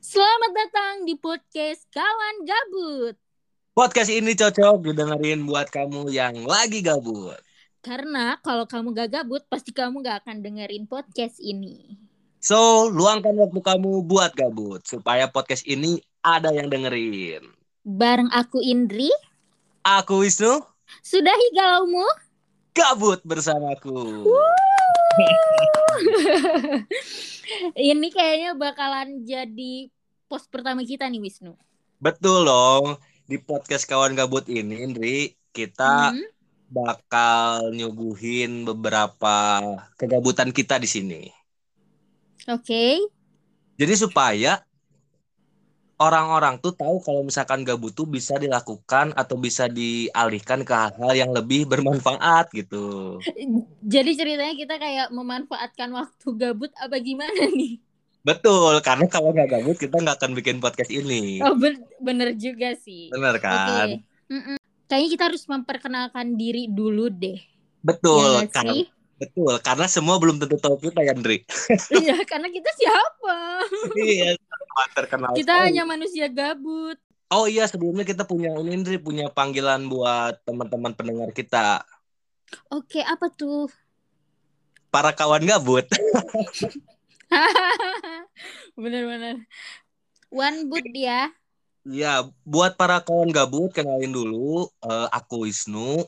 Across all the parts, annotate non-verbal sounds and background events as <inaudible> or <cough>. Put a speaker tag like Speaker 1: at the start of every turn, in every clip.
Speaker 1: Selamat datang di podcast Kawan Gabut.
Speaker 2: Podcast ini cocok didengerin buat kamu yang lagi gabut.
Speaker 1: Karena kalau kamu gak gabut, pasti kamu gak akan dengerin podcast ini.
Speaker 2: So, luangkan waktu kamu buat gabut supaya podcast ini ada yang dengerin.
Speaker 1: Bareng aku Indri,
Speaker 2: Aku Wisnu,
Speaker 1: sudahi galaumu.
Speaker 2: gabut bersamaku.
Speaker 1: Ini kayaknya bakalan jadi post pertama kita nih Wisnu.
Speaker 2: Betul dong. Di podcast kawan gabut ini, Indri, kita
Speaker 1: Hmm.
Speaker 2: bakal nyuguhin beberapa kegabutan kita di sini.
Speaker 1: Oke.
Speaker 2: Jadi supaya orang-orang tuh tahu kalau misalkan gabut tuh bisa dilakukan atau bisa dialihkan ke hal-hal yang lebih bermanfaat gitu.
Speaker 1: Jadi ceritanya kita kayak memanfaatkan waktu gabut apa gimana nih?
Speaker 2: Betul, karena kalau nggak gabut kita nggak akan bikin podcast ini.
Speaker 1: Oh ben- bener juga sih.
Speaker 2: Iya. Bener kan?
Speaker 1: Oke. Iya Mm-mm. Kayaknya kita harus memperkenalkan diri dulu deh.
Speaker 2: Betul,
Speaker 1: ya
Speaker 2: kan?
Speaker 1: nggak
Speaker 2: karena
Speaker 1: sih?
Speaker 2: betul karena semua belum tentu tahu kita ya,
Speaker 1: <laughs>
Speaker 2: Andri.
Speaker 1: Iya, karena kita siapa?
Speaker 2: Iya, terkenal.
Speaker 1: Kita
Speaker 2: sekali.
Speaker 1: hanya manusia gabut.
Speaker 2: Oh iya, sebelumnya kita punya ini Andri punya panggilan buat teman-teman pendengar kita.
Speaker 1: Oke, apa tuh?
Speaker 2: Para kawan gabut.
Speaker 1: Bener-bener. One boot ya.
Speaker 2: Iya, buat para kawan gabut kenalin dulu eh, aku Wisnu.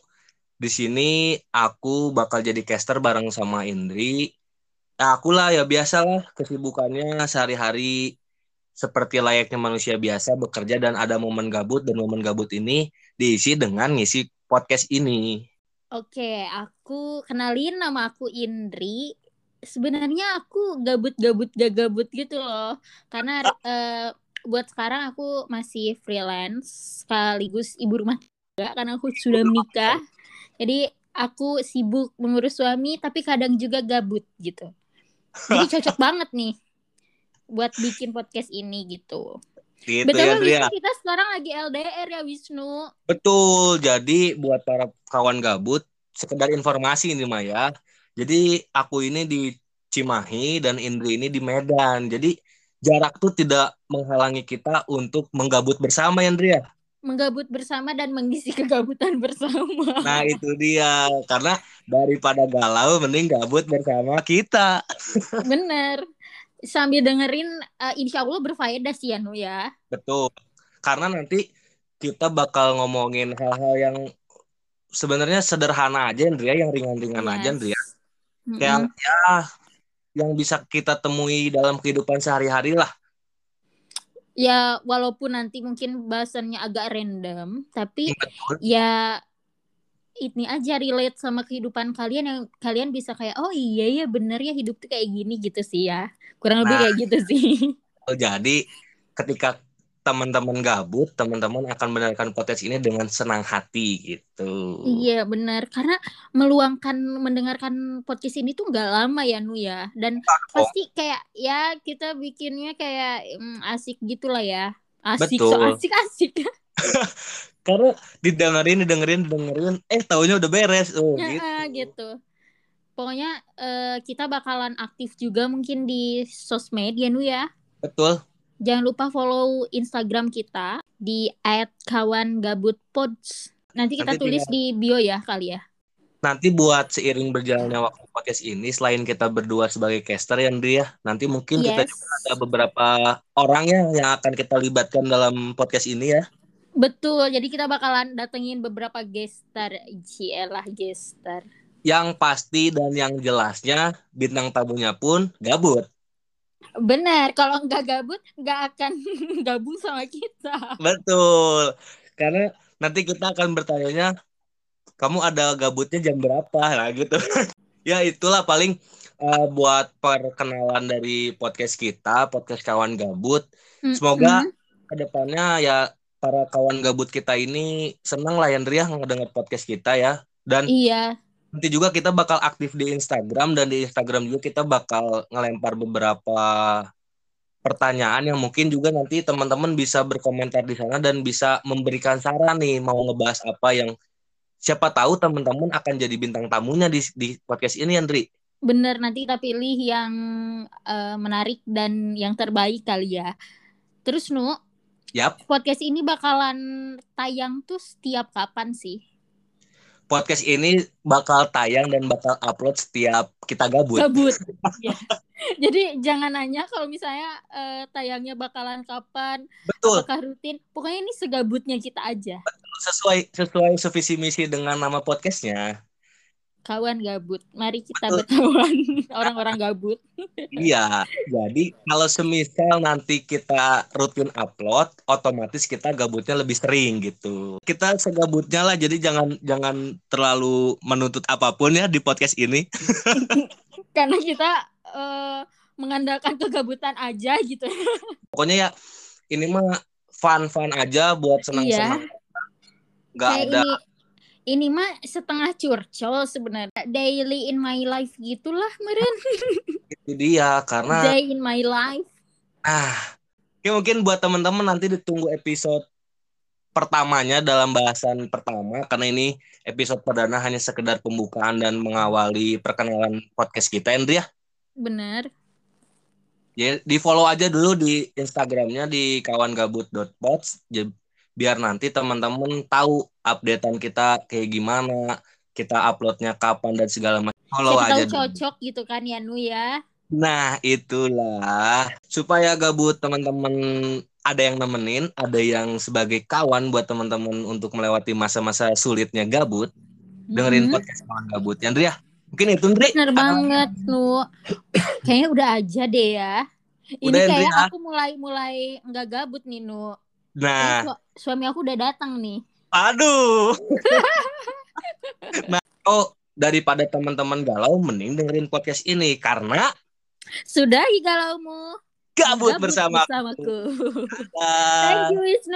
Speaker 2: Di sini aku bakal jadi caster bareng sama Indri. Nah, akulah ya biasalah kesibukannya sehari-hari seperti layaknya manusia biasa bekerja dan ada momen gabut dan momen gabut ini diisi dengan ngisi podcast ini.
Speaker 1: Oke, aku kenalin nama aku Indri. Sebenarnya aku gabut-gabut gak gabut gitu loh. Karena eh, buat sekarang aku masih freelance sekaligus ibu rumah tangga karena aku sudah menikah. Jadi aku sibuk mengurus suami tapi kadang juga gabut gitu. Jadi cocok banget nih buat bikin podcast ini gitu.
Speaker 2: Gitu ya,
Speaker 1: Betul
Speaker 2: Andrea.
Speaker 1: Wisnu kita sekarang lagi LDR ya Wisnu.
Speaker 2: Betul, jadi buat para kawan gabut, sekedar informasi ini Maya. Jadi aku ini di Cimahi dan Indri ini di Medan. Jadi jarak tuh tidak menghalangi kita untuk menggabut bersama, Indri ya.
Speaker 1: Menggabut bersama dan mengisi <laughs> kegabutan bersama.
Speaker 2: Nah itu dia, karena daripada galau mending gabut bersama kita.
Speaker 1: Bener. Sambil dengerin eh, insya Allah berfaedah sih Yanu ya.
Speaker 2: Betul, karena nanti kita bakal ngomongin hal-hal yang sebenarnya sederhana aja, Indri ya, yang ringan-ringan
Speaker 1: Yes.
Speaker 2: aja, Indri ya.
Speaker 1: Mm-mm.
Speaker 2: yang ya yang bisa kita temui dalam kehidupan sehari-hari lah.
Speaker 1: Ya walaupun nanti mungkin bahasannya agak random, tapi
Speaker 2: Iya, Betul.
Speaker 1: ya ini aja relate sama kehidupan kalian yang kalian bisa kayak oh iya ya bener ya hidup tuh kayak gini gitu sih ya. Kurang lebih
Speaker 2: Nah.
Speaker 1: kayak gitu sih. <laughs>
Speaker 2: Jadi ketika teman-teman gabut, teman-teman akan mendengarkan podcast ini dengan senang hati gitu.
Speaker 1: Iya benar karena meluangkan mendengarkan podcast ini tuh nggak lama ya Nu ya dan pasti kayak ya kita bikinnya kayak mm, asik gitulah ya asik so
Speaker 2: Betul.
Speaker 1: asik asik <laughs>
Speaker 2: Karena didengerin, didengerin, didengerin, eh taunya udah beres. Oh, gitu.
Speaker 1: Heeh, gitu pokoknya eh, kita bakalan aktif juga mungkin di sosmed ya Nu ya
Speaker 2: Betul.
Speaker 1: jangan lupa follow Instagram kita di @kawangabutpods nanti kita
Speaker 2: Nanti
Speaker 1: tulis di bio ya kali ya
Speaker 2: Nanti buat seiring berjalannya waktu podcast ini, selain kita berdua sebagai caster yang dia, nanti mungkin Iya, kita
Speaker 1: Yes.
Speaker 2: juga ada beberapa orang ya yang akan kita libatkan dalam podcast ini ya.
Speaker 1: Betul, jadi kita bakalan datengin beberapa gestar Cielah gestar
Speaker 2: yang pasti dan yang jelasnya bintang tamunya pun gabut.
Speaker 1: Benar, kalau nggak gabut nggak akan <laughs> gabung sama kita
Speaker 2: Betul. Karena nanti kita akan bertanyanya kamu ada gabutnya jam berapa nah gitu. <laughs> ya itulah paling eh, buat perkenalan dari podcast kita, podcast kawan gabut. Semoga
Speaker 1: Mm-mm.
Speaker 2: kedepannya ya para kawan gabut kita ini senang lah Yandri ya ngedenger podcast kita ya. Dan
Speaker 1: Iya,
Speaker 2: Nanti juga kita bakal aktif di Instagram dan di Instagram juga kita bakal ngelempar beberapa pertanyaan yang mungkin juga nanti teman-teman bisa berkomentar di sana dan bisa memberikan saran nih mau ngebahas apa yang siapa tahu teman-teman akan jadi bintang tamunya di, di podcast ini Andri.
Speaker 1: benar nanti kita pilih yang eh, menarik dan yang terbaik kali ya Terus Nu,
Speaker 2: Yap.
Speaker 1: podcast ini bakalan tayang tuh setiap kapan sih?
Speaker 2: Podcast ini bakal tayang dan bakal upload setiap kita gabut. <laughs>
Speaker 1: Gabut. Ya. Jadi jangan nanya kalau misalnya eh, tayangnya bakalan kapan,
Speaker 2: Betul,
Speaker 1: apakah rutin. Pokoknya ini segabutnya kita aja.
Speaker 2: sesuai sesuai sevisi misi dengan nama podcastnya.
Speaker 1: Kawan gabut. Mari kita
Speaker 2: Betul.
Speaker 1: berkawan <laughs> orang-orang gabut.
Speaker 2: Iya, jadi kalau semisal nanti kita rutin upload, otomatis kita gabutnya lebih sering gitu. Kita segabutnya lah, jadi jangan jangan terlalu menuntut apapun ya di podcast ini.
Speaker 1: Karena kita eh, mengandalkan kegabutan aja gitu.
Speaker 2: Pokoknya ya ini mah fun-fun aja buat senang-senang. Nggak
Speaker 1: Kayak
Speaker 2: ada
Speaker 1: ini ini mah setengah curcol sebenarnya. Daily in my life gitulah meren.
Speaker 2: itu dia karena
Speaker 1: Day in my life.
Speaker 2: ah ya mungkin buat teman-teman nanti ditunggu episode pertamanya dalam bahasan pertama karena ini episode perdana hanya sekedar pembukaan dan mengawali perkenalan podcast kita Andrea.
Speaker 1: Bener.
Speaker 2: Ya, di follow aja dulu di Instagramnya di kawangabut.pods Je- biar nanti teman-teman tahu updatean kita kayak gimana, kita uploadnya kapan dan segala macam. Follow
Speaker 1: Siapa
Speaker 2: aja
Speaker 1: tahu
Speaker 2: dulu.
Speaker 1: cocok gitu kan ya Nu ya.
Speaker 2: Nah, itulah supaya gabut teman-teman ada yang nemenin, ada yang sebagai kawan buat teman-teman untuk melewati masa-masa sulitnya gabut. Dengerin
Speaker 1: Mhm.
Speaker 2: podcast kawan gabut. Andrea, mungkin itu Andri.
Speaker 1: Bener banget Nu. Kayaknya udah aja deh ya. Ini
Speaker 2: Udah, Indri,
Speaker 1: kayak
Speaker 2: ya.
Speaker 1: aku mulai-mulai nggak gabut nih Nu. Kayak
Speaker 2: Nah,
Speaker 1: su- suami aku udah datang nih.
Speaker 2: Aduh. <laughs> nah, oh daripada teman-teman galau mending dengerin podcast ini karena
Speaker 1: Sudahi galaumu.
Speaker 2: gabut, bersama.
Speaker 1: bersamaku.
Speaker 2: kita.
Speaker 1: Thank you Wisnu.